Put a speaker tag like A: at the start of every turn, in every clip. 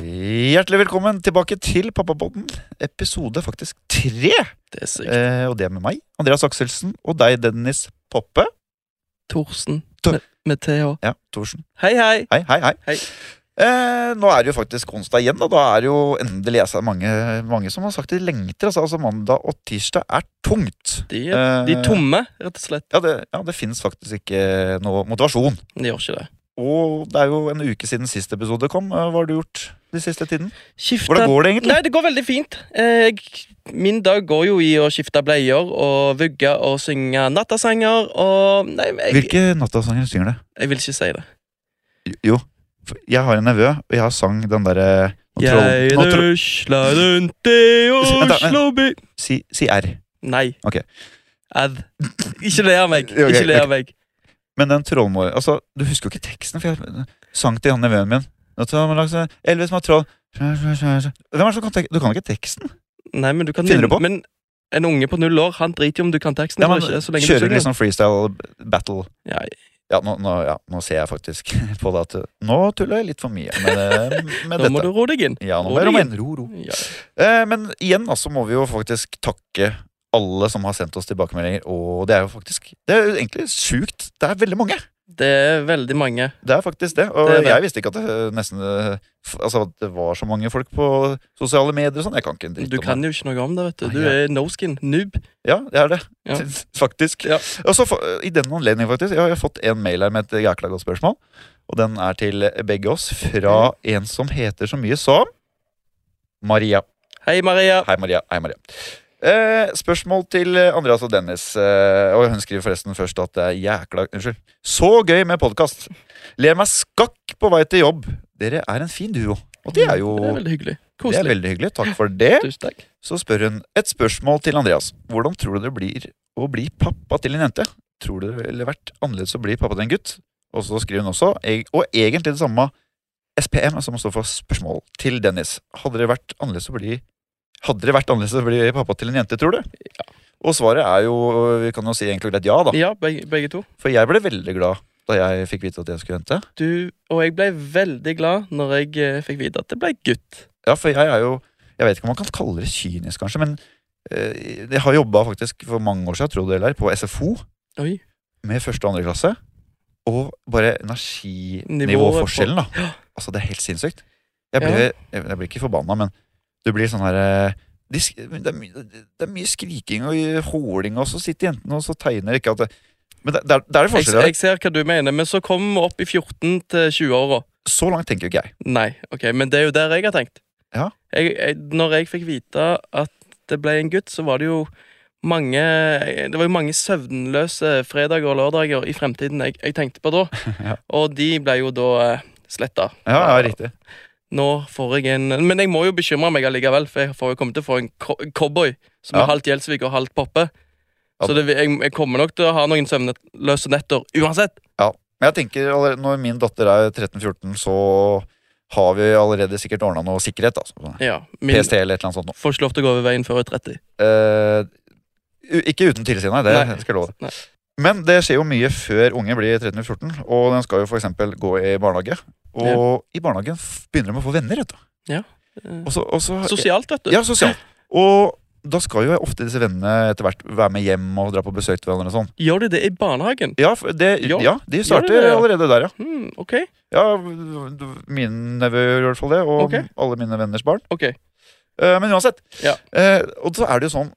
A: Hjertelig velkommen tilbake til Pappapodden, episode faktisk tre.
B: Det er sykt.
A: Eh, og det er med meg, Andreas Akselsen, og deg, Dennis Poppe.
B: Thorsen
A: Tor-
B: med, med TH.
A: Ja, Thorsen.
B: Hei, hei!
A: Hei, hei, hei.
B: Hei.
A: Eh, nå er det jo faktisk onsdag igjen, og da er det jo endelig jeg ser mange, mange som har sagt de lengter. Altså, altså mandag og tirsdag er tungt.
B: De,
A: Eh,
B: de er tomme, rett og slett.
A: Ja, det, ja, det fins faktisk ikke noe motivasjon.
B: De gjør ikke det.
A: Og det er jo en uke siden siste episode kom. Eh, Hva har du gjort de siste tiden?
B: Skifta
A: Hvordan går det egentlig?
B: Nei, det går veldig fint. Eh, Jeg, min dag går jo i å skifte bleier og vugge og synge nattasanger og Nei, jeg,
A: Hvilke nattasanger synger du?
B: jeg vil ikke si det.
A: Jo, for jeg har en nevø, og jeg har sang den derre nå
B: Jeg
A: troll- nå troll-
B: rusler rundt i
A: Vent da, vent.
B: Oslo by
A: Si, si R.
B: Nei.
A: Ok.
B: Ad. Ikke le av meg.
A: Ok,
B: Ikke le av meg.
A: Men den trollmor... Altså, du husker jo ikke teksten, for jeg sang til han nevøen min. Nå tar man langs- Elvis med troll Hvem er det som kan tek Du kan ikke teksten?
B: Nei, men du kan
A: Finner du på?
B: Men en unge på null år, han driter jo om du kan teksten
A: Ja,
B: eller
A: men
B: ikke. Så lenge du
A: Kjører
B: synger.
A: liksom freestyle battle.
B: Ja,
A: Ja nå, nå, ja, nå ser jeg faktisk på det at eh, Nå tuller jeg litt for mye med, det- med
B: Nå må du
A: dette.
B: roe deg inn.
A: Ja, nå
B: ro
A: må jeg
B: deg
A: roe meg
B: inn.
A: inn. Ro, ro.
B: Ja.
A: Eh, Men igjen da, så må vi jo faktisk takke alle som har sendt oss tilbakemeldinger. Og det er jo faktisk Det er jo egentlig sjukt. Det er veldig mange.
B: Det er veldig mange.
A: Det er faktisk det. Og
B: Det er det.
A: jeg visste ikke at det, nesten, eh, f- altså, at det var så mange folk på sosiale medier og sånn. Jeg kan ikke en dritt
B: Du
A: om
B: kan jo ikke noe om det, vet du.
A: Nei,
B: Du
A: ja.
B: er no skin. Noob.
A: Ja, det er det.
B: Ja.
A: Faktisk.
B: Ja.
A: Og så fa- I den anledning, faktisk, jeg har fått en mail her med et jækla godt spørsmål. Og den er til begge oss fra en som heter så mye som Maria.
B: Hei, Maria.
A: Hei, Maria. Hei, Maria. Eh, spørsmål til eh, Andreas og Dennis. Eh, og hun skriver forresten først at det er jækla Unnskyld. Så gøy med podkast! Ler meg skakk på vei til jobb. Dere er en fin duo. Og det er jo
B: Mm, Det er veldig hyggelig.
A: det er
B: Koselig.
A: veldig hyggelig. Takk for det.
B: Tusen takk.
A: Så spør hun et spørsmål til Andreas. Hvordan tror du det blir å bli pappa til en jente? Tror du det ville vært annerledes å bli pappa til en gutt? Og så skriver hun også, eg- og egentlig det samme SPM, som står for spørsmål til Dennis. Hadde det vært annerledes å bli Hadde det vært annerledes å bli pappa til en jente, tror du? Og svaret er jo, vi kan jo si egentlig greit ja, da.
B: Ja, begge, begge to.
A: For jeg ble veldig glad da jeg fikk vite at jeg skulle hente.
B: Du og jeg ble veldig glad når jeg eh, fikk vite at det ble gutt.
A: Ja, for jeg er jo Jeg vet ikke om man kan kalle det kynisk, kanskje, men eh, jeg har jobba faktisk for mange år siden, tro det eller ei, på SFO
B: Oi.
A: med første og andre klasse. Og bare energinivåforskjellen, da. Altså, det er helt sinnssykt. Jeg blir,
B: Ja.
A: jeg, jeg blir ikke forbanna, men du blir sånn her eh, de, sk- det, er mye, det er mye skriking og håling, og så sitter jentene og så tegner ikke at det, Men det, det, er, det er det
B: Jeg,
A: forskjell.
B: jeg ser hva du mener, men så kom vi opp i 14 til 20-åra.
A: Så langt tenker jo ikke jeg.
B: Nei, ok, men det er jo der jeg har tenkt.
A: Ja.
B: Jeg, jeg, når jeg fikk vite at det ble en gutt, så var det jo mange Det var jo mange søvnløse fredager og lørdager i fremtiden jeg, jeg tenkte på da.
A: Ja.
B: Og de ble jo da eh, sletta.
A: Ja, ja, riktig.
B: Nå får jeg en Men jeg må jo bekymre meg allikevel, for jeg får jo komme til å få en co- cowboy som
A: Ja.
B: er halvt Gjelsvik og halvt Poppe.
A: Ja.
B: Så det, jeg, jeg kommer nok til å ha noen søvnløse netter uansett.
A: Men jeg tenker allerede- Når min datter er 13-14, så har vi allerede sikkert ordna noe sikkerhet. Altså.
B: Ja, min
A: PST eller et eller annet sånt. nå.
B: får ikke lov til å gå over veien før jeg er 30.
A: Eh, u- ikke uten tilsyn, nei. Det
B: Nei.
A: skal jeg love.
B: Nei.
A: Men det skjer jo mye før unge blir 13-14, og den skal jo f.eks. gå i barnehage. Og i barnehagen f- begynner de å få venner, vet du.
B: Eh,
A: Og så, og så,
B: Sosialt, vet du.
A: Ja, sosialt. Og da skal jo ofte disse vennene etter hvert være med hjem og dra på besøk til hverandre og sånn.
B: Gjør de det i barnehagen?
A: Ja, for det,
B: Ja.
A: ja, de
B: Gjør de
A: starter
B: det, ja?
A: allerede der, ja.
B: Hmm, ok,
A: ja min nevø gjør i hvert fall det, og
B: Ok.
A: alle mine venners barn.
B: ok.
A: Eh, men uansett.
B: Ja.
A: Eh, og så er det jo sånn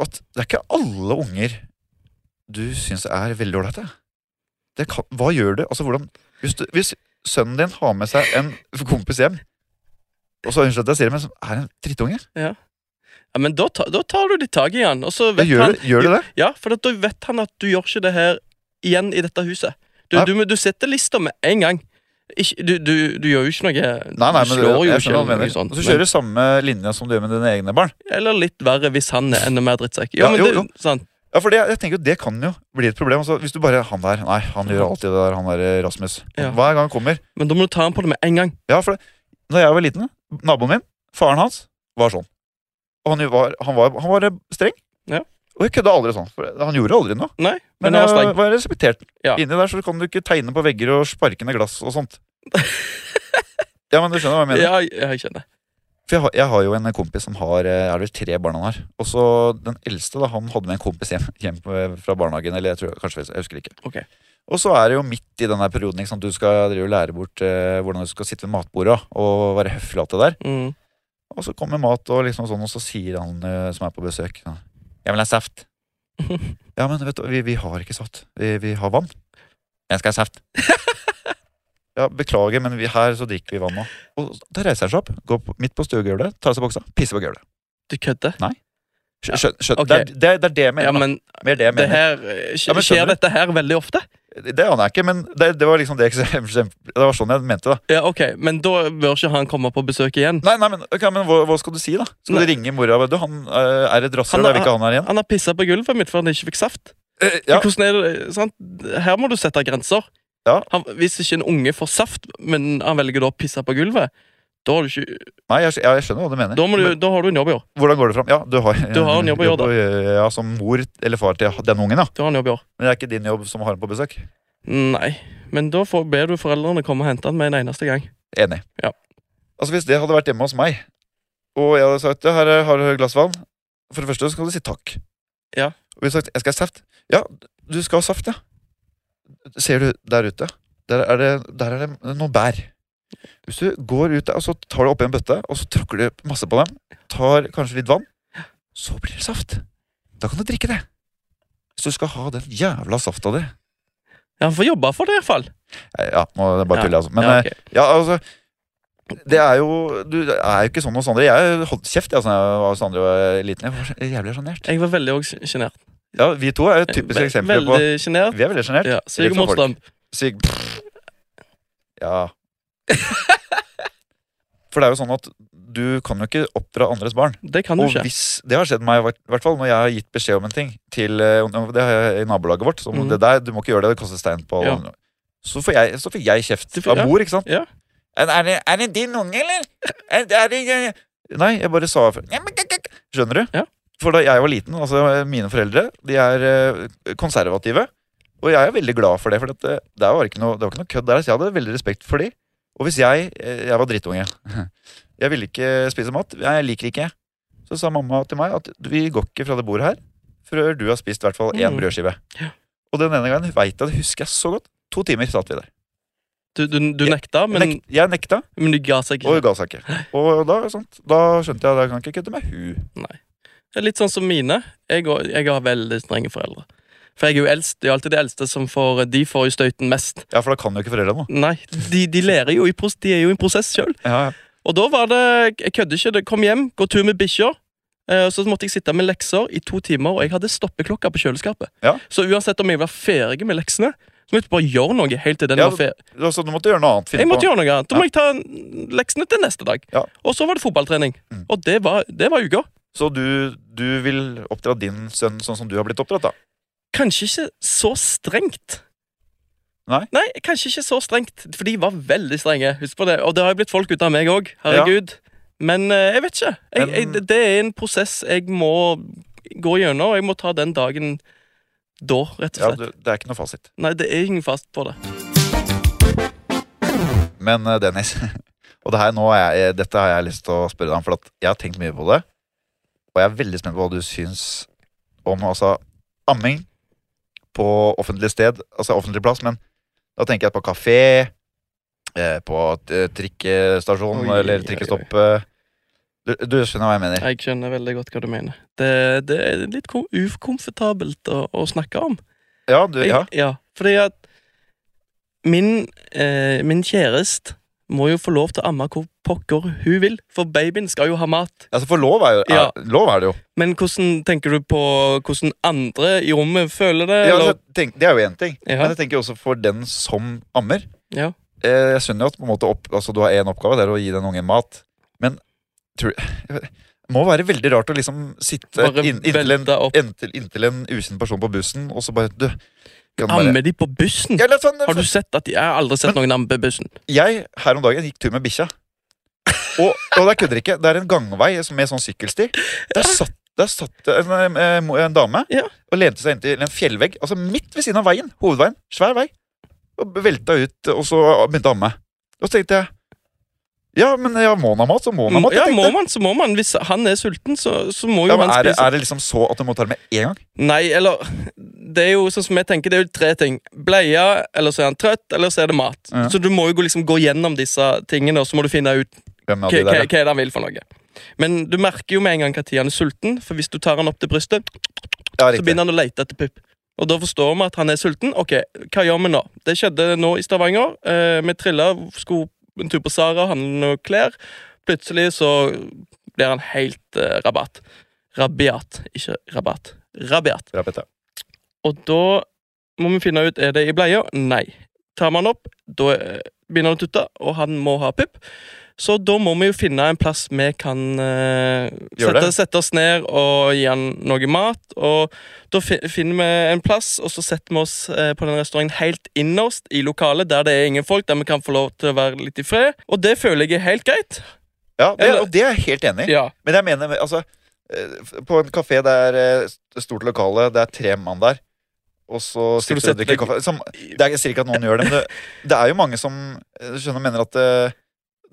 A: at det er ikke alle unger du syns er veldig ålreite. Det kan- Hva gjør du? Altså, hvordan hvis, du, hvis sønnen din har med seg en kompis hjem, og så unnskyld at jeg sier det, men som er en drittunge
B: Ja, men da, ta, da tar du litt tak i han, og
A: ja,
B: så vet
A: gjør,
B: han
A: du- gjør du det?
B: Ja, for at da vet han at du gjør ikke det her igjen i dette huset. Du,
A: Nei.
B: du, du setter lista med en gang. Ikke, du, du, du gjør jo ikke noe
A: Nei, nei,
B: Du
A: men
B: slår
A: jeg,
B: jo
A: jeg skjønner hva
B: ikke
A: du
B: eller
A: mener.
B: noe sånt.
A: Og så kjører du samme linje som du gjør med dine egne barn.
B: men, eller litt verre hvis han er enda mer drittsekk. Ja,
A: Ja,
B: men
A: jo,
B: det,
A: jo.
B: Sant.
A: Ja, for det, jeg tenker jo, det kan jo bli et problem. Altså, hvis du bare Han der, nei, han gjør alltid det der, han der eh, Rasmus.
B: Ja.
A: Hver gang han kommer.
B: men da må du ta han på det med en gang.
A: Ja, for det, når jeg var liten, naboen min, faren hans, var sånn. Og han var, han var, han var eh, streng.
B: Ja.
A: Og jeg kødda aldri sånn. For han gjorde aldri noe.
B: Nei,
A: Men,
B: men jeg var
A: jeg
B: streng.
A: var respektert.
B: Ja.
A: Inni der så kan du ikke tegne på vegger og sparke ned glass og sånt. Ja, men du skjønner hva jeg mener.
B: Ja, ja, jeg kjenner.
A: For jeg har, jeg har jo en kompis som har eh, er det vel tre barn han har. Og så den eldste da, han hadde med en kompis hjem, hjem eh, fra barnehagen. eller jeg tror, kanskje, jeg husker ikke.
B: Ok.
A: Og så er det jo midt i den her perioden ikke sant? du skal drive og lære bort eh, hvordan du skal sitte ved matbordet og være høflig. og alt det der.
B: Mm.
A: Og så kommer mat, og liksom sånn, og så sier han eh, som er på besøk sånn, Jeg vil ha saft.
B: Mm.
A: ja, men vet du, vi, vi har ikke saft. Vi, vi har vann. Jeg skal ha saft. ja, beklager, men vi, her så drikker vi vann nå. Og da reiser han seg opp, går på, midt på stuegulvet, tar av seg buksa, pisser på gulvet.
B: Du kødder?
A: Skjø- skjø- skjø-
B: ok.
A: det, er- det, er- det er det jeg
B: Ja,
A: mener.
B: men
A: da. Mer det jeg
B: det
A: mener.
B: her, eh,
A: Ja, men skjønner
B: skjer
A: du?
B: dette her veldig ofte?
A: Det aner jeg ikke, men det, det var liksom det eksempelet. Det var sånn jeg mente, da.
B: Ja, ok, Men da bør ikke han komme på besøk igjen.
A: Nei, nei, men, ok, men hva, hva skal du si, da? Skal
B: Nei.
A: du ringe mora? Du, han eh, er et rasshøl,
B: Han er-
A: jeg vil ikke ha han her igjen.
B: Han har pissa på gulvet mitt for han ikke fikk saft.
A: Eh, ja,
B: Hvordan er det, sant? Her må du sette grenser.
A: Ja.
B: Han, hvis ikke en unge får saft, men han velger da å pisse på gulvet, da har du, ikke,
A: nei, jeg, skj- ja, jeg skjønner hva du mener.
B: da må du,
A: Men
B: da har du en jobb i år.
A: hvordan går det fram? Ja, du har,
B: Du har en jobb å gjøre, da.
A: gjøre, Ja, som mor eller far til den ungen, ja.
B: Du har en jobb i år.
A: Men det er ikke din jobb som har han på besøk.
B: Nei, men da får, ber du foreldrene komme og hente han med en eneste gang.
A: Enig.
B: Ja.
A: Altså, hvis det hadde vært hjemme hos meg, og jeg hadde sagt ja, her er- har du et glass vann For det første så kan du si takk.
B: Ja.
A: Og vi hadde sagt jeg skal ha saft. Ja, du skal ha saft, ja. Ser du der ute? Der er det, der er det noen bær. Hvis du går ut der, og så tar du oppi en bøtte, og så tråkker du masse på dem, tar kanskje litt vann, så blir det saft. Da kan du drikke det. Hvis du skal ha den jævla safta di
B: Ja, Han får jobbe for det, iallfall.
A: Ja, nå er det bare
B: Ja.
A: tull, altså. Men
B: ja, ok.
A: ja, altså Det er jo Du det er jo ikke sånn hos andre. Jeg holdt kjeft jeg, altså, da jeg var hos andre og var liten. Jeg var så jævlig sjenert.
B: Jeg var veldig også sjenert.
A: Ja, vi to er jo typiske
B: Ve-
A: eksempler på
B: Veldig sjenert.
A: Vi er veldig sjenert.
B: Ja,
A: Litt som folk.
B: Svigermorstrøm.
A: Syk Ja. For det er jo sånn at du kan jo ikke oppdra andres barn.
B: Det kan du
A: Og
B: ikke.
A: hvis, Det har skjedd meg, i hvert- hvert fall når jeg har gitt beskjed om en ting til eh, og det har jeg i nabolaget vårt. Som
B: Mm.
A: det der, du må ikke gjøre det, det koster stein på alle
B: Ja.
A: andre. Så får jeg, så får jeg kjeft
B: Du får-
A: av
B: ja.
A: mor, ikke sant?
B: Ja.
A: Er, er, det, er det din unge, eller? Er, er det, Nei, jeg bare sa for- Ja, men kak, kak. Skjønner du?
B: Ja.
A: For da jeg var liten, altså mine foreldre, de er eh, konservative. Og jeg er veldig glad for det, for det, det, var, ikke noe, det var ikke noe kødd der. Så jeg hadde veldig respekt for de. Og hvis jeg eh, Jeg var drittunge. Jeg ville ikke spise mat. Jeg liker ikke. Så sa mamma til meg at vi går ikke fra det bordet her før du har spist i hvert fall én
B: Mm.
A: brødskive.
B: Ja.
A: Og den ene gangen veit jeg det, husker jeg så godt. To timer satt vi der.
B: Du, du, du nekta, men,
A: Nekt, jeg nekta,
B: men du ga seg
A: og hun
B: ikke.
A: ga seg ikke. Og da, sant, da skjønte jeg at jeg kan ikke kødde med hun.
B: Det er litt sånn som mine. Jeg, og- jeg har veldig strenge foreldre. For jeg er jo eldst. Det er jo alltid de eldste som får De får jo støyten mest.
A: Ja, for da kan jo ikke foreldrene noe.
B: Nei, de, de lærer jo i pros, De er jo i en prosess sjøl.
A: Ja, ja.
B: Og da var det Jeg kødder ikke. det Kom hjem, gå tur med bikkja. eh, og Så måtte jeg sitte med lekser i to timer, og jeg hadde stoppeklokke på kjøleskapet.
A: Ja.
B: Så uansett om jeg var ferdig med leksene, så måtte jeg bare gjøre noe helt til den
A: Ja,
B: var ferdig.
A: Ja, Så du måtte gjøre noe annet. finne
B: Jeg måtte
A: på.
B: gjøre noe annet. Da må jeg ta leksene til neste dag.
A: Ja.
B: Og så var det fotballtrening.
A: Mm.
B: Og det var, det var uka.
A: Så du, du vil oppdra din sønn sånn som du har blitt oppdratt, da?
B: Kanskje ikke så strengt.
A: Nei?
B: kanskje ikke så strengt, for de var veldig strenge. Husk på det. Og det har jo blitt folk ut av meg òg. Herregud. Men eh, jeg vet ikke. Jeg, jeg,
A: Men-
B: det- det er en prosess jeg må gå gjennom. og Jeg må ta den dagen da, rett og
A: Ja,
B: slett.
A: du, Det er ikke noe fasit.
B: Nei, det er ingen fast på det.
A: Men eh, Dennis, og det her nå er jeg, dette har jeg lyst til å spørre deg om, for at jeg har tenkt mye på det. Og jeg er veldig spent på hva du syns om altså, amming på offentlig sted, altså offentlig plass. Men da tenker jeg på kafé, eh, på eh, trikkestasjon
B: Oi, oi,
A: eller
B: oi.
A: trikkestopp. eh. Du, du skjønner hva jeg mener?
B: Jeg skjønner veldig godt hva du mener. Det, det er litt kom- ukomfortabelt å, å snakke om.
A: Ja, du,
B: Jeg,
A: ja.
B: ja, fordi at min, eh, min kjæreste må jo få lov til å amme hvor pokker hun vil, for babyen skal jo ha mat.
A: Altså, for lov er, jo,
B: Ja.
A: er, lov er det jo.
B: Men hvordan tenker du på hvordan andre i rommet føler det?
A: Ja,
B: eller?
A: altså, tenk, det er jo én ting.
B: Eh, Ja.
A: Men jeg tenker også for den som ammer.
B: Ja.
A: Eh, Jeg skjønner jo at på en måte opp, altså, du har én oppgave, det er å gi den ungen mat. Men tror, det må være veldig rart å liksom sitte
B: Bare
A: inn, inntil, en,
B: velte opp.
A: inntil, inntil en ukjent person på bussen, og så bare Du, kan du bare
B: Ammer de på bussen?
A: ja, altså- la faen,
B: Har du sett at de, Jeg har aldri sett noen amme på bussen.
A: Jeg her om dagen gikk tur med bikkja. Og, og der kødder jeg ikke. Det er en gangvei som- med sånn sykkelsti. Der satt, der satt det en, eh, mo- en dame
B: Ja.
A: og lente seg inntil en fjellvegg. Altså midt ved siden av veien. Hovedveien. Svær vei. Og velta ut, og så begynte å amme. Og så tenkte jeg Ja, men ja, må han ha mat, så må han ha mat. jeg
B: Ja,
A: tenkte.
B: må man, så må man. Hvis han er sulten, så, så må jo
A: ja, men
B: han
A: er, det,
B: spise.
A: er det liksom så at du må ta det med én gang?
B: Nei, eller Det er jo sånn som jeg tenker, det er jo tre ting. Bleie, eller så er han trøtt, eller så er det mat.
A: Ja.
B: Så du må jo gå- liksom gå gjennom disse tingene, og så må du finne ut
A: Hvem av
B: hva,
A: de
B: hva,
A: der?
B: hva er det han vil for noe. Men du merker jo med en gang når han er sulten, for hvis du tar han opp til brystet,
A: Ja,
B: så begynner han å lete etter pupp. Og da forstår vi at han er sulten. Ok, hva gjør vi nå? Det skjedde nå i Stavanger. Eh, vi trilla, skulle en tur på Sara, handle noe klær. Plutselig så blir han helt eh, rabatt. Rabiat, ikke rabatt. Rabiat.
A: Rabiat, ja.
B: Og da må vi finne ut Er det i bleia. Nei. Tar man opp, da eh, begynner han å tutte, og han må ha pupp. Så da må vi jo finne en plass vi kan eh,
A: Gjør
B: sette,
A: det.
B: sette oss ned og gi han noe mat. Og da fi, finner vi en plass, og så setter vi oss eh, på den restauranten helt innerst i lokalet, der det er ingen folk, der vi kan få lov til å være litt i fred. Og det føler jeg er helt greit.
A: ja det,
B: Eller-
A: og det er jeg helt enig i.
B: Ja.
A: Men jeg mener, altså eh, På en kafé, det er eh, st- stort lokale, det er tre mann der. Og så
B: Skal
A: sitter du
B: du
A: og
B: sette
A: drikker
B: deg-
A: kaffe. Som, det er, jeg sier ikke at noen gjør det, men det, det er jo mange som eh, skjønner mener at eh,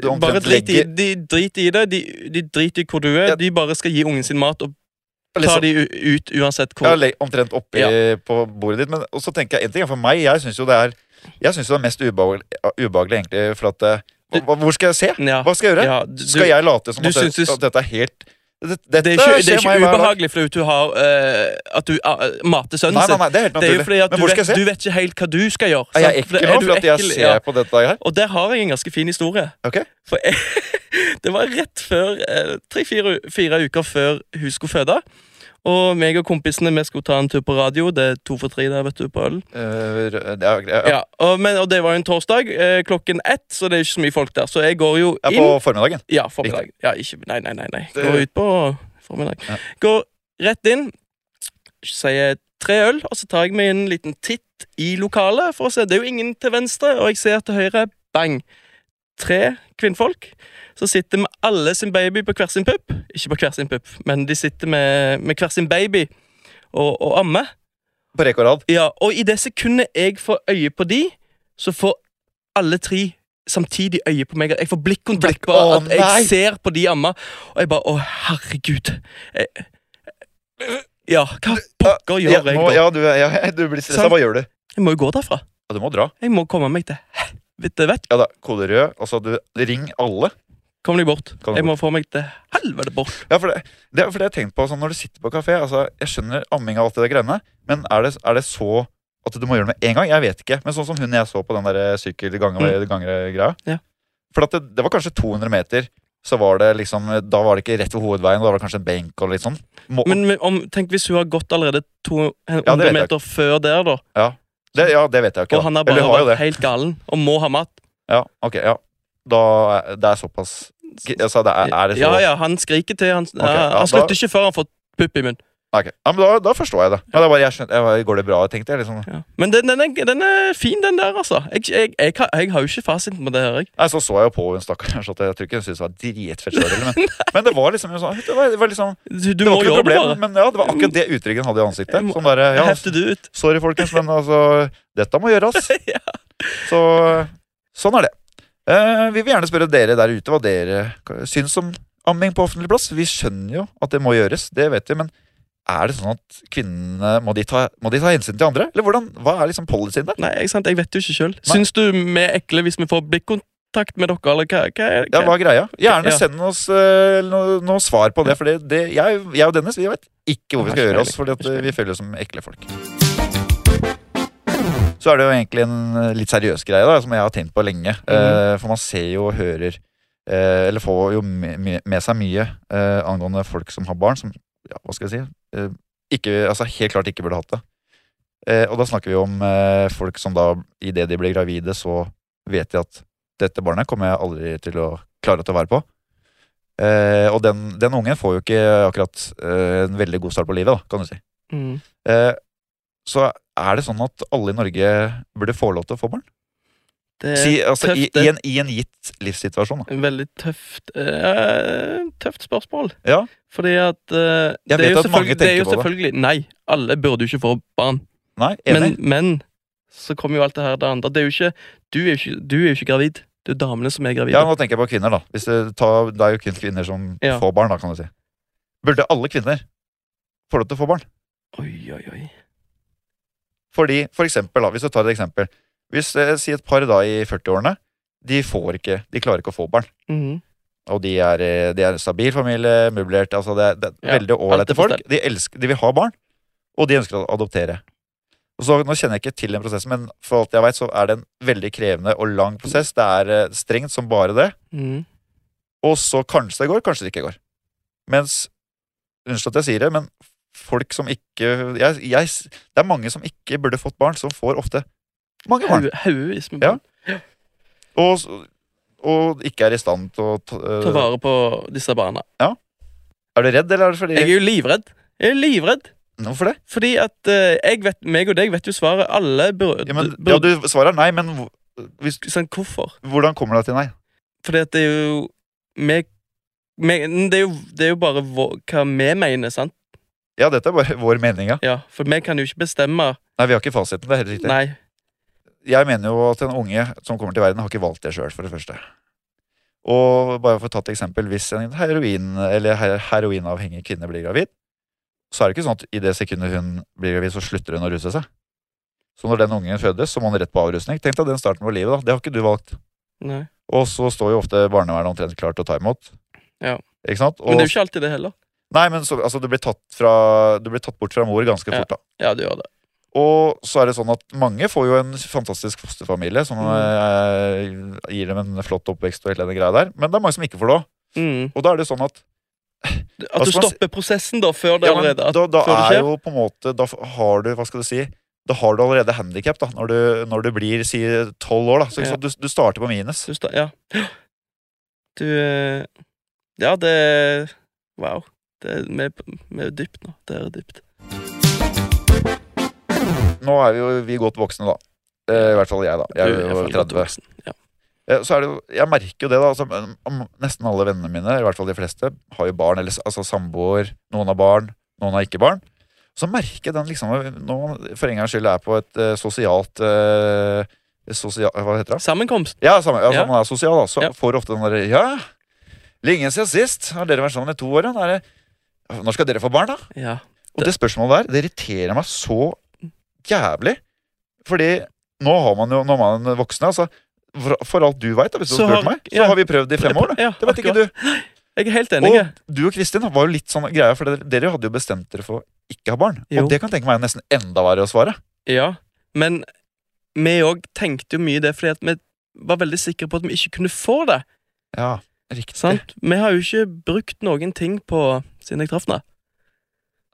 A: du omtrent
B: Bare drit i,
A: legger-
B: de driter i det. De, de driter i hvor du er.
A: Ja.
B: De bare skal gi ungen sin mat og ta
A: liksom-
B: de u- ut uansett hvor.
A: Ja, le- omtrent oppi på bordet ditt. Men og så tenker jeg, en ting er for meg, jeg syns jo det er Jeg synes jo det er mest ubehagelig, ubehagelig egentlig, for at eh, hva- hva- Hvor skal jeg se?
B: Ja.
A: Hva skal jeg gjøre?
B: Ja, du,
A: Skal jeg late som
B: du
A: at, det,
B: synes du-
A: at dette er helt det- Dette
B: det er ikke, det
A: skjer
B: er ikke
A: meg hver dag.
B: ubehagelig fordi du har eh, At du ah, mater sønnen
A: Nei, nei,
B: sin.
A: nei, det er helt
B: Det er jo
A: naturlig.
B: fordi at
A: Men
B: du
A: hvor
B: vet,
A: skal jeg se?
B: du vet ikke helt hva du skal gjøre.
A: Er jeg
B: sant? For
A: ekkel nå
B: er du
A: fordi at jeg
B: ekkel?
A: ser
B: Ja.
A: på dette her?
B: Og der har jeg en ganske fin historie.
A: Ok?
B: For jeg, det var rett før eh, Tre-fire uker før hun skulle føde. Og meg og kompisene vi skulle ta en tur på radio. Det er to for tre der, vet du, på ølen.
A: Eh, det er, ja, ja.
B: Ja, og, men, og det var jo en torsdag eh, klokken ett, så det er ikke så mye folk der. Så jeg går jo
A: Ja,
B: inn
A: på formiddagen.
B: Ja, formiddag. Ja, ikke, nei, nei, nei. nei.
A: Det-
B: Gå ut på formiddag.
A: Ja.
B: Går rett inn, sier tre øl, og så tar jeg meg en liten titt i lokalet. for å se. Det er jo ingen til venstre, og jeg ser til høyre bang. Tre kvinnfolk som sitter med alle sin baby på hver sin pupp. Ikke på hver sin pupp, men de sitter med, med hver sin baby og, og ammer.
A: På rekke og rad.
B: Ja, og i det sekundet jeg får øye på de, så får alle tre samtidig øye på meg. Jeg får blikkontakt
A: Blikk-
B: på
A: Å,
B: at
A: nei!
B: jeg ser på de amma, og jeg bare Å, herregud. Jeg, ja, hva pokker
A: Ja,
B: gjør jeg
A: nå,
B: da? Sånn.
A: ja, du, er- ja, du blir stressa.
B: Sant.
A: Hva gjør du?
B: Jeg må jo gå derfra.
A: Ja, du må dra.
B: Jeg må komme meg til helvete vekk.
A: Ja da, kode rød. Altså, du, ring alle.
B: Kom deg bort.
A: Kom deg
B: Jeg må få meg til helvete bort.
A: Ja, for det, det, er- for det har jeg tenkt på sånn, Når du sitter på kafé altså, Jeg skjønner amming og alt det der greiene, men er det, er det så at du må gjøre det med en gang? Jeg vet ikke. Men sånn som hun jeg så på den der sykkelgangere-greia
B: Mm. Ja.
A: For at det, det var kanskje 200 meter, så var det liksom Da var det ikke rett ved hovedveien, da var det kanskje en benk og litt sånn. Må,
B: Men men om, tenk hvis hun har gått
A: Ja,
B: allerede
A: det
B: 200
A: vet jeg
B: meter før der, da,
A: det, ja, det vet jeg jo ikke.
B: og
A: da.
B: han har
A: Eller
B: bare
A: hun har jo
B: vært
A: det.
B: helt galen og må ha mat.
A: Ja, ok, ja. Da er- Det er såpass Altså, det er, er det så
B: Ja, ja, han skriker til. Han, ja,
A: ja,
B: han slutter
A: da-
B: ikke før han får pupp i munnen.
A: Nei, ok. ja, men da, da forstår jeg det. Ja, det er bare, jeg skjønte, jeg, går det bra, tenkte jeg. liksom
B: Ja. Men den, den, er, den er fin, den der, altså. Jeg, jeg, jeg, har- jeg har jo ikke fasiten på det her. Jeg.
A: Nei, så så jeg jo på hun stakkars at jeg tror ikke hun syntes det var dritfett kjøring, men, men det var liksom jo sånn Det var, det var liksom Det
B: Du, du
A: var
B: må
A: ikke noe
B: gjøre det
A: problem,
B: bare.
A: men ja, det var akkurat det utryggen hadde i
B: Jeg
A: ansiktet.
B: må-
A: Sånn derre
B: Jeg
A: Ja,
B: hefter du ut.
A: sorry, folkens, men altså Dette må gjøres.
B: Ja.
A: Så sånn er det. Eh, vi vil gjerne spørre dere der ute hva dere syns om amming på offentlig plass. Vi skjønner jo at det må gjøres, det vet vi, men er det sånn at kvinnene Må de ta, må de ta hensyn til andre? Eller hvordan, hva er liksom policyen der?
B: Nei, ikke sant? jeg vet jo ikke sjøl.
A: Nei.
B: Syns du vi er ekle hvis vi får blikkontakt med dere, eller hva? hva, er-
A: Ja, hva
B: hva?
A: er greia? Gjerne
B: Ja.
A: send oss eh, no, noe svar på det. For det, det jeg, jeg og Dennis vi vet ikke hvor vi
B: Har
A: skal
B: ikke
A: gjøre oss,
B: peiling.
A: for
B: Har ikke
A: vi føler oss som ekle folk. Så er det jo egentlig en eh, litt seriøs greie da, som jeg har tenkt på lenge. Eh, for man ser jo og hører eh, Eller får jo me- me- med seg mye eh, angående folk som har barn, som ja, hva skal jeg si eh, ikke, altså helt klart ikke burde hatt det. Eh, og da snakker vi om eh, folk som da, idet de blir gravide, så vet de at dette barnet kommer jeg aldri til å klare til å være på. Eh, og den, den ungen får jo ikke akkurat eh, en veldig god start på livet, da, kan du si.
B: Mm.
A: Eh, så er det sånn at alle i Norge burde få lov til å få barn?
B: Det
A: Si, altså, i,
B: Eh, tøft, det.
A: i, en, I en gitt livssituasjon, da.
B: er et veldig tøft eh, Tøft spørsmål.
A: Ja,
B: Fordi at eh,
A: Jeg
B: det
A: vet
B: er jo
A: at mange
B: selvfølgelig- Det er jo
A: tenker på det.
B: selvfølgelig Nei, alle burde jo ikke få barn.
A: nei, enig.
B: Men, men så kommer jo alt det her det andre. Det er jo ikke Du er jo ikke, du er jo ikke gravid. Det er jo damene som er gravide.
A: Ja, nå tenker jeg på kvinner, da. Hvis det, tar, det er jo kun kvinner som
B: Ja.
A: får barn, da, kan du si. Burde alle kvinner få lov til å få barn?
B: Oi, oi, oi.
A: Fordi, for eksempel, da, hvis du tar et eksempel Hvis eh, si et par da i 40-årene, de får ikke De klarer ikke å få barn.
B: Mhm.
A: Og de er, eh, de er en stabil familie, møblert altså Det er, det er
B: Ja,
A: veldig
B: alt er
A: ålreite
B: på
A: folk. De, elsker, de vil ha barn, og de ønsker å adoptere. Og så, Nå kjenner jeg ikke til den prosessen, men for alt jeg vet, så er det en veldig krevende og lang prosess. Det er eh, strengt som bare det.
B: Mhm.
A: Og så kanskje det går, kanskje det ikke går. Mens Unnskyld at jeg sier det, men folk som ikke jeg, jeg, Det er mange som ikke burde fått barn, som får ofte mange barn.
B: Hau- Haugevis med
A: Ja.
B: barn.
A: Og, s- og ikke er i stand til å ta, øh,
B: Ta vare på disse barna.
A: Er du redd, eller er det fordi
B: Jeg er jo livredd. Jeg er livredd.
A: Hvorfor det?
B: Fordi at eh, jeg vet, meg og deg vet jo svaret. Alle burde,
A: Ja, men, ja, du svarer nei, men hvor- hvis,
B: sånn, Hvorfor?
A: hvordan kommer du deg til nei?
B: Fordi at det er jo meg, meg, det, er jo, det er jo bare vår, hva vi mener, sant?
A: Ja, dette er bare vår mening, ja.
B: Ja, For vi kan jo ikke bestemme.
A: Nei, vi har ikke fasiten. det er helt riktig.
B: Nei.
A: jeg mener jo at en unge som kommer til verden, har ikke valgt det sjøl, for det første. Og bare for å ta et eksempel, hvis en heroin, eller her- heroinavhengig kvinne blir gravid, så er det ikke sånn at i det sekundet hun blir gravid, så slutter hun å ruse seg. Så når den ungen fødes, så må hun rett på avrusning. Tenk deg den starten på livet, da. Det har ikke du valgt.
B: Nei.
A: Og så står jo ofte barnevernet omtrent klart til å ta imot.
B: Ja.
A: Ikke sant? Og,
B: Men det er jo ikke alltid det heller.
A: Nei, men så, altså, du, blir tatt fra, du blir tatt bort fra mor ganske
B: Ja.
A: fort, da.
B: Ja, det gjør det.
A: Og så er det sånn at mange får jo en fantastisk fosterfamilie som
B: Mm.
A: eh, gir dem en flott oppvekst og hele den greia der, men det er mange som ikke får det òg.
B: Mm.
A: Og da er det jo sånn at
B: At du
A: Altså, man-
B: stopper prosessen da, før det
A: ja, men,
B: allerede at,
A: da, da
B: før det
A: er
B: skjer.
A: jo på en måte Da f- har du, hva skal du si Da har du allerede handikap da, når du, når du blir si tolv år, da. Så ikke
B: Ja.
A: sant, du, du starter på minus.
B: Du sta- ja. Du eh, Ja, det Wow. Det, vi, er- vi er dypt nå. Det er dypt.
A: Nå er vi jo vi godt voksne, da. Eh, I hvert fall jeg, da. Jeg
B: Du
A: er jo
B: faen godt
A: 30.
B: voksen. Ja.
A: Eh, Så er det jo, jeg merker jo det, da. Altså, om- om nesten alle vennene mine, i hvert fall de fleste, har jo barn. Eller, s- altså samboer. Noen har barn, noen har ikke barn. Så merker jeg den liksom Når man for en gangs skyld er på et eh, sosialt eh, sosia, Hva heter det?
B: Sammenkomst.
A: Ja, samme, ja,
B: Ja.
A: man er sosial, da. Så
B: Ja.
A: får du ofte den derre Ja, lenge siden sist. Har dere vært sammen i to år? Ja? Da er det, når skal dere få barn, da?
B: Ja.
A: Og det spørsmålet der, det irriterer meg så jævlig. Fordi nå har man jo, når man er voksen, altså For, for alt du veit, hvis du
B: Så
A: har
B: har-
A: spurt meg, så
B: ja.
A: har vi prøvd i fem år. Da.
B: Ja,
A: Det vet ikke
B: akkurat.
A: du.
B: Jeg er helt enig.
A: Og
B: jeg.
A: du og Kristin var jo litt sånn greia, for dere, dere hadde jo bestemt dere for å ikke ha barn.
B: Jo.
A: Og det kan jeg tenke meg er nesten enda verre å svare.
B: Ja. Men vi òg tenkte jo mye det, fordi at vi var veldig sikre på at vi ikke kunne få det.
A: Ja, riktig.
B: Sant? Vi har jo ikke brukt noen ting på siden jeg traff henne.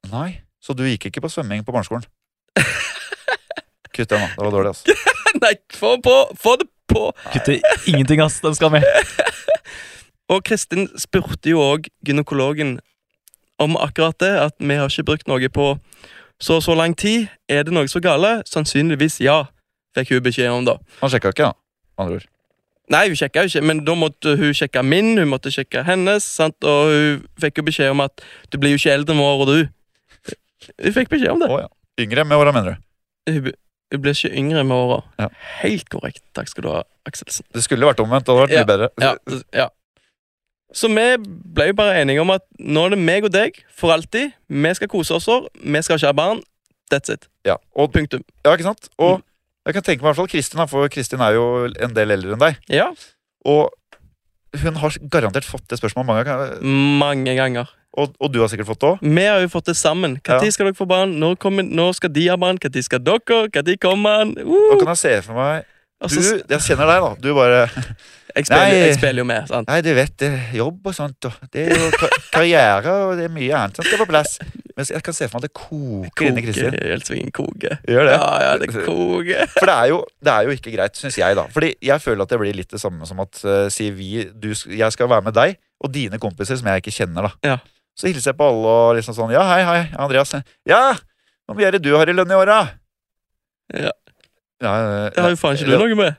A: Nei. Så du gikk ikke på svømming på barneskolen? Kutt den, da. Det var dårlig, altså.
B: Nei, få, på, få det på!
C: Kutter ingenting, ass. Den skal med.
B: Og Kristin spurte jo òg gynekologen om akkurat det, at vi har ikke brukt noe på så og så lang tid. Er det noe så gale? Sannsynligvis ja, fikk hun beskjed om da.
A: Han sjekka ikke, da. med Andre ord.
B: Nei, hun sjekka jo ikke, men da måtte hun sjekke min, hun måtte sjekke hennes, sant? og hun fikk jo beskjed om at du blir jo ikke eldre enn vår, og du. Hun fikk beskjed om det.
A: Å, ja. Yngre med åra, mener du?
B: Hun, b- hun blir ikke yngre med åra.
A: Ja.
B: Helt korrekt. Takk skal du ha, Akselsen.
A: Det skulle vært omvendt. Det hadde vært
B: Ja.
A: mye bedre.
B: Ja, s- ja. Så vi ble jo bare enige om at nå er det meg og deg for alltid. Vi skal kose oss, år, vi skal ikke ha barn. That's it.
A: Ja. Og
B: Punktum.
A: Ja, ikke sant? Og jeg kan tenke meg i hvert fall Kristin, da, for Kristin er jo en del eldre enn deg.
B: Ja,
A: Og hun har garantert fått det spørsmålet mange ganger,
B: mange ganger.
A: og, og du har sikkert fått det òg.
B: Vi har jo fått det sammen. Når
A: Ja.
B: skal dere få barn? Når, kommer, når skal de ha barn? Når skal dere? Når kommer han?
A: Da
B: Uh!
A: kan jeg se for meg
B: Og
A: Du,
B: så s-
A: jeg kjenner deg, da. Du bare
B: jeg, spiller,
A: Nei.
B: jeg spiller jo med, sant?
A: Nei, du vet, det er jobb og sånt, og det er jo ka- karriere, og det er mye annet som skal på plass. Men jeg kan se for meg at det koker inni Kristin.
B: Helsvingen koker.
A: Gjør det?
B: Ja, ja, det koker.
A: For det er, jo, det er jo ikke greit, syns jeg, da. Fordi jeg føler at det blir litt det samme som at eh, sier vi du, sk- Jeg skal være med deg og dine kompiser som jeg ikke kjenner, da.
B: Ja.
A: Så hilser jeg på alle og liksom sånn Ja, hei, hei, Andreas. Ja, hvor mye er det du har i lønn i år, da?
B: Ja.
A: ja eh,
B: Det har jo faen ikke du noe med.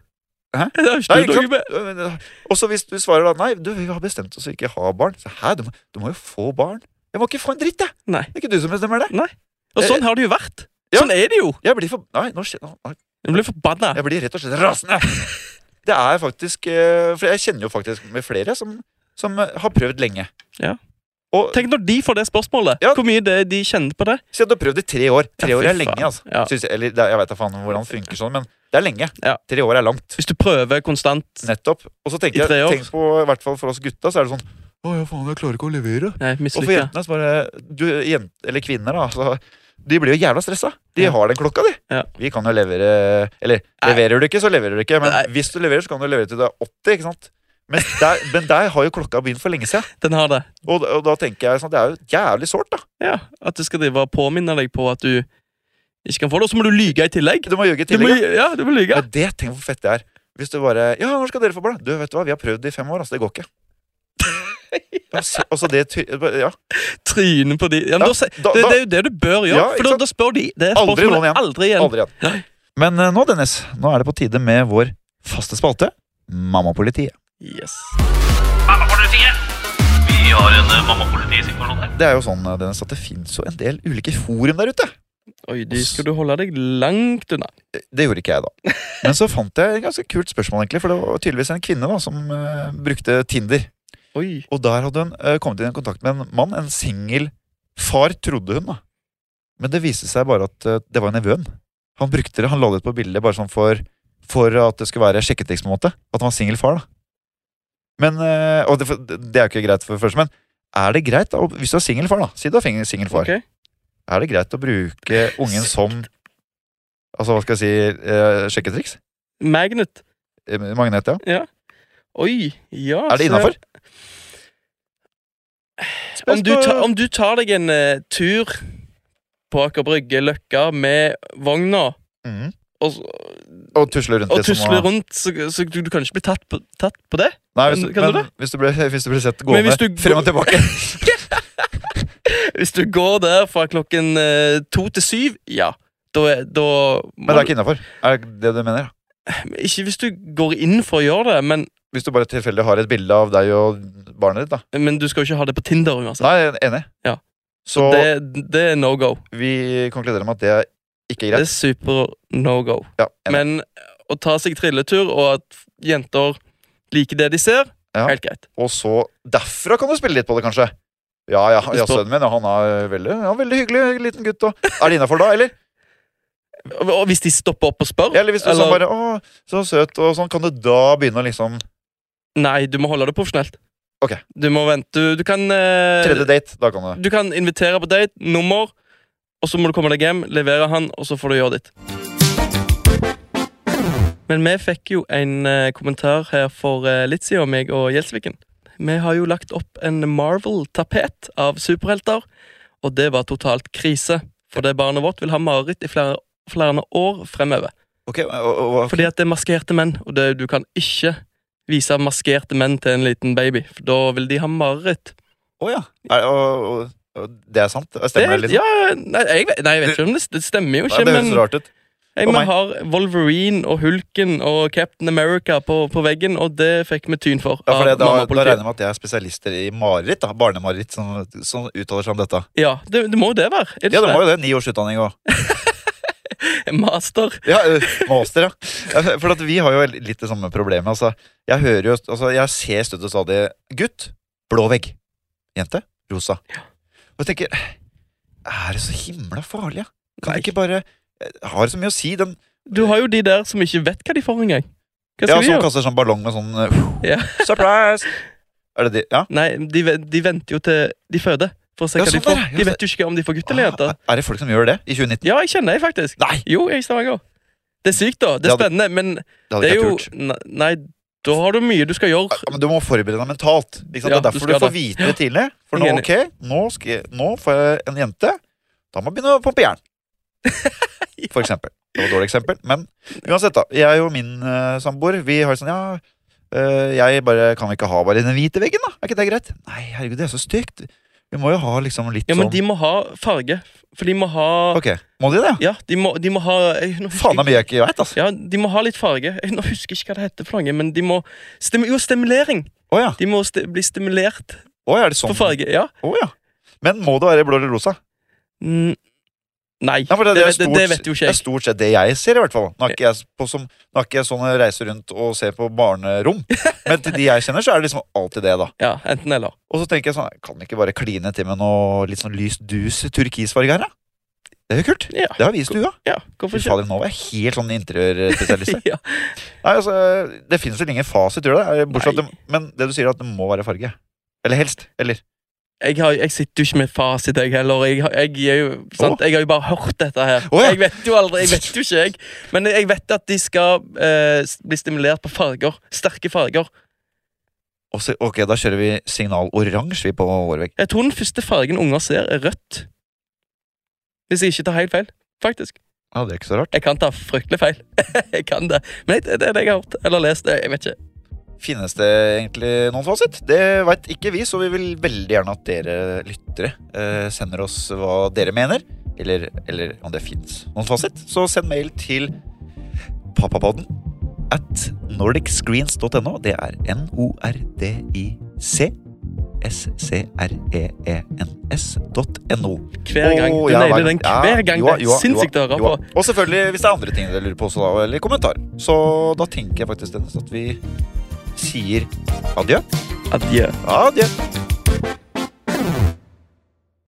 A: Hæ?
B: Det har jo
A: Nei,
B: ikke du
A: ikke
B: noe med.
A: sant? Eh, Og så hvis du svarer da Nei, du, vi har bestemt oss for ikke å ha barn. Så, Hæ, du må, du må jo få barn. Jeg må ikke få en dritt, jeg.
B: Nei.
A: Det er ikke du som bestemmer det.
B: Og sånn har det jo vært.
A: Ja.
B: Sånn er det jo.
A: Jeg blir for... Nei, nå skjer nå-
B: Jeg blir forbanna.
A: Jeg blir rett og slett rasende. Det er faktisk eh, For jeg kjenner jo faktisk med flere som, som eh, har prøvd lenge.
B: Ja.
A: Og
B: Tenk når de får det spørsmålet.
A: Ja.
B: Hvor mye det de kjenner på det.
A: si at du har prøvd i tre år. Tre
B: Ja,
A: år
B: fy
A: er lenge,
B: faen.
A: altså.
B: Ja.
A: Syns jeg, eller det, er- jeg veit da faen hvordan det funker sånn, men det er lenge.
B: Ja.
A: Tre år er langt.
B: Hvis du prøver konstant
A: Nettopp. Og så
B: I
A: tenker
B: tre
A: jeg,
B: år.
A: tenk på, i hvert fall for oss gutta, så er det sånn Å ja, faen, jeg klarer ikke å levere.
B: Nei,
A: Og for
B: mislykka.
A: jentene så bare du, jent, Eller kvinner, da. Så, de blir jo jævla stressa. De
B: Ja.
A: har den klokka, de.
B: Ja.
A: Vi kan jo levere Eller
B: Nei.
A: leverer du ikke, så leverer du ikke. Men
B: Nei.
A: hvis du leverer, så kan du levere til du er 80, ikke sant? Men der, men der har jo klokka begynt for lenge siden.
B: Den har det.
A: Og, og da tenker jeg sånn, det er jo jævlig sårt, da.
B: Ja, At du skal drive og påminne deg på at du ikke kan få det. Og så må du lyge i tillegg.
A: Du må ljuge i
B: Du må,
A: tillegg. da.
B: ja, du må lyge.
A: Men det, tenk hvor fett det er. Hvis du bare Ja, når skal dere få blad? Du, vet du hva, vi har prøvd i fem år, altså. Det går ikke. Ja, se- Altså, det ty- Ja.
B: Tryne på de ja,
A: Ja,
B: men da, se-
A: da-
B: det,
A: da-
B: det er jo det du bør gjøre.
A: Ja, ikke
B: for da,
A: sant?
B: da spør de. Det er
A: Aldri
B: spørsmålet
A: lån igjen.
B: Aldri igjen.
A: Aldri igjen. Men eh, nå, Dennis, nå er det på tide med vår faste spalte, Mammapolitiet.
B: Yes.
D: Mammapolitiet. Vi har en eh, mammapolitisituasjon her.
A: Det er jo sånn eh, Dennis, at det fins jo en del ulike forum der ute.
B: Oi, de skal du holde deg langt unna.
A: Eh, Det gjorde ikke jeg, da. Men så fant jeg et ganske kult spørsmål, egentlig. For det var tydeligvis en kvinne da, som eh, brukte Tinder.
B: Oi.
A: Og der hadde hun eh, kommet inn i kontakt med en mann, en singel far, trodde hun, da. Men det viste seg bare at eh, det var nevøen. Han brukte det, han la det ut på bildet bare sånn for, for at det skulle være sjekketriks, på en måte. At han var singel far, da. Men, eh, og det, det er jo ikke greit for det første, men er det greit, da, hvis du er singel far, da, si du er singel far,
B: Ok.
A: er det greit å bruke ungen som Altså, hva skal jeg si, eh, sjekketriks?
B: Magnet.
A: Eh, Magnet, ja.
B: Oi. Ja,
A: Er det
B: så-
A: innafor?
B: Om du, ta, om du tar deg en eh, tur på Aker Brygge, Løkka, med vogna
A: Mhm.
B: og, s-
A: Og tusle rundt
B: og
A: litt som
B: tusler
A: å-
B: rundt, så, så du, du kan ikke bli tatt på, tatt på det?
A: Nei, hvis,
B: Kan- kan du
A: men, hvis, du ble, hvis du ble sett
B: Men
A: gående
B: hvis du
A: frem og tilbake
B: Hvis du går der fra klokken eh, to til syv, ja. Da, er- da må
A: Men det er ikke innafor. Er det det du mener?
B: du, ikke hvis du går inn for å gjøre det, men,
A: Hvis du bare tilfeldig har et bilde av deg og barnet ditt, da.
B: men du skal jo ikke ha det på Tinder uansett.
A: Nei, jeg er enig.
B: Ja.
A: Så
B: Det, det er no go.
A: vi konkluderer med at det er ikke
B: Det
A: greit.
B: er super no go.
A: Ja, enig.
B: Men å ta seg trilletur, og at jenter liker det de ser,
A: Ja.
B: helt greit.
A: Og så Derfra kan du spille litt på det, kanskje. Ja, ja, ja sønnen min ja, han er veldig, ja, veldig hyggelig liten gutt. Og. Er det innafor da, eller?
B: Og, og hvis de stopper opp og spør
A: Eller hvis du sånn bare Å, så søt, og sånn. Kan du da begynne å liksom
B: Nei, du må holde det profesjonelt.
A: Ok.
B: Du må vente. Du, du kan eh,
A: Tredje date, da kan du
B: Du kan invitere på date, nummer, og så må du komme deg hjem, levere han, og så får du gjøre ditt. Men vi fikk jo en eh, kommentar her for eh, litt siden, meg og Gjelsviken. Vi har jo lagt opp en Marvel-tapet av superhelter, og det var totalt krise. For det barnet vårt vil ha mareritt i flere, flere år fremover.
A: Ok, og, og, og,
B: Fordi at det er maskerte menn, og det, du kan ikke vise maskerte menn til en liten baby. For da vil de ha mareritt.
A: å, ja. Er, og, og, og det er sant?
B: Det,
A: Stemmer det, litt?
B: ja, nei, jeg, vet- nei, jeg vet ikke om det, det stemmer jo
A: Ja,
B: ikke,
A: det høres
B: men
A: rart ut.
B: jeg,
A: for
B: vi
A: meg.
B: har Wolverine og Hulken og Captain America på, på veggen, og det fikk vi tyn for.
A: Ja, for det,
B: av
A: da,
B: mamma og
A: da regner
B: politiet.
A: jeg med at jeg er spesialister i mareritt, da. barnemareritt, som, som uttaler seg om dette.
B: Ja, det, det må jo det være. Er det
A: Ja, det
B: ikke
A: må jo det. Ni års utdanning og
B: det? Master.
A: ja, eh, master, ja. ja. For at vi har jo litt det samme problemet. Altså, jeg hører jo altså, Jeg ser støtt og stadig gutt, blå vegg. Jente, rosa. Og jeg tenker Er det så himla farlig, ja? Kan
B: Nei.
A: det ikke bare eh, Har det så mye å si, den
B: Du har jo de der som ikke vet hva de får engang.
A: ja,
B: Hva skal de
A: som
B: gjøre?
A: kaster sånn ballong med sånn eh,
B: Ja.
A: Surprise! Er det det? Ja?
B: Nei, de, ve- de venter jo til de føder. For å se
A: Ja,
B: hva de
A: sånn
B: får.
A: der, ja,
B: De
A: det-
B: vet jo ikke om de får gutt eller jente.
A: Ah, Er det folk som gjør det i 2019?
B: Ja, jeg kjenner jeg faktisk.
A: Nei!
B: Jo, jeg er i Stavanger. Det er sykt, da. Det
A: Ja,
B: er
A: det-
B: spennende, men
A: Det hadde
B: det
A: ikke
B: er
A: jeg
B: jo
A: turt.
B: ne- Nei, da har du mye du skal gjøre.
A: Ja, men du må forberede deg mentalt. Ikke sant? det er
B: Ja, du
A: derfor du,
B: skal
A: får
B: det.
A: vite det tidlig. For nå,
B: Jeg er
A: ok, nå, skal jeg, nå får jeg en jente. Da må jeg begynne å pumpe jern. For eksempel. Det var et dårlig eksempel, men uansett, da. Jeg og min eh, samboer, vi har sånn Ja, eh, jeg bare kan vi ikke ha bare den hvite veggen, da? Er ikke det greit? Nei, herregud, det er så stygt. Vi må jo ha liksom litt
B: Ja, men
A: sånn
B: de må ha farge. For de må ha
A: Ok, må de det?
B: Ja, de må, de må ha jeg, nå husker
A: Faen, det er
B: jeg-
A: mye jeg ikke veit, altså.
B: ja, de må ha litt farge. Jeg, nå husker jeg ikke hva det heter, for noe, men de må stim, Jo, stimulering.
A: Å ja.
B: De må sti, bli stimulert
A: Å, ja, er det sånn?
B: for farge. Ja.
A: Å ja. Men må det være blå eller rosa?
B: Mm, Nei.
A: Nei, for det,
B: det,
A: det, er
B: vet-
A: stort,
B: det vet jo ikke
A: Det er
B: jeg.
A: stort sett det jeg ser, i hvert fall. Nå er ikke jeg, på som, nå er ikke jeg sånn jeg reiser rundt og ser på barnerom, men til de jeg kjenner, så er det liksom alltid det, da.
B: Ja, Enten eller.
A: Og så tenker jeg sånn, kan den ikke bare kline til med noe litt sånn lys dus i turkisfarge her, da? Det er jo kult.
B: Ja,
A: Det har vi i stua.
B: ja
A: Fy
B: hvorfor ikke?
A: fader, nå var jeg helt sånn interiørspesialist.
B: Ja.
A: Nei, altså, det finnes vel ingen fasit, gjør det? Bortsett fra at det? Men det du sier, er at det må være farge. Eller helst. Eller
B: Jeg, har, jeg sitter jo ikke med fasit, jeg heller. Jeg, har- jeg, er jo, sant? jeg har jo bare hørt dette her.
A: Å, ja.
B: Jeg vet jo aldri, jeg vet jo ikke, jeg. Men jeg vet at de skal eh, s- bli stimulert på farger. Sterke farger.
A: Og så- Ok, da kjører vi signal oransje vi på vår vegg.
B: Jeg tror den første fargen unger ser, er rødt. Hvis jeg ikke tar helt feil. Faktisk.
A: Ja, det er ikke så rart.
B: Jeg kan ta fryktelig feil. jeg kan det. Men det det er det jeg har hørt eller lest. Jeg vet ikke.
A: Finnes det egentlig noen fasit? Det veit ikke vi, så vi vil veldig gjerne at dere lyttere eh, sender oss hva dere mener. Eller, eller om det fins noen fasit. Så send mail til pappapodden at nordicscreens.no. Det er n-o-r-d-i-c. E S-C-R-E-E-N-S.no.
B: Hver gang.
A: Å,
B: Du
A: ja,
B: nailer
A: hver
B: den
A: gang.
B: hver
A: Ja,
B: gang.
A: jo,
B: det er
A: jo, jo,
B: Sinnssykt å høre
A: jo.
B: på.
A: Og selvfølgelig hvis det er andre ting dere lurer på, så da, eller kommentar. Så da tenker jeg faktisk Dennis, at vi sier adjø.
B: Adjø.
A: Adjø.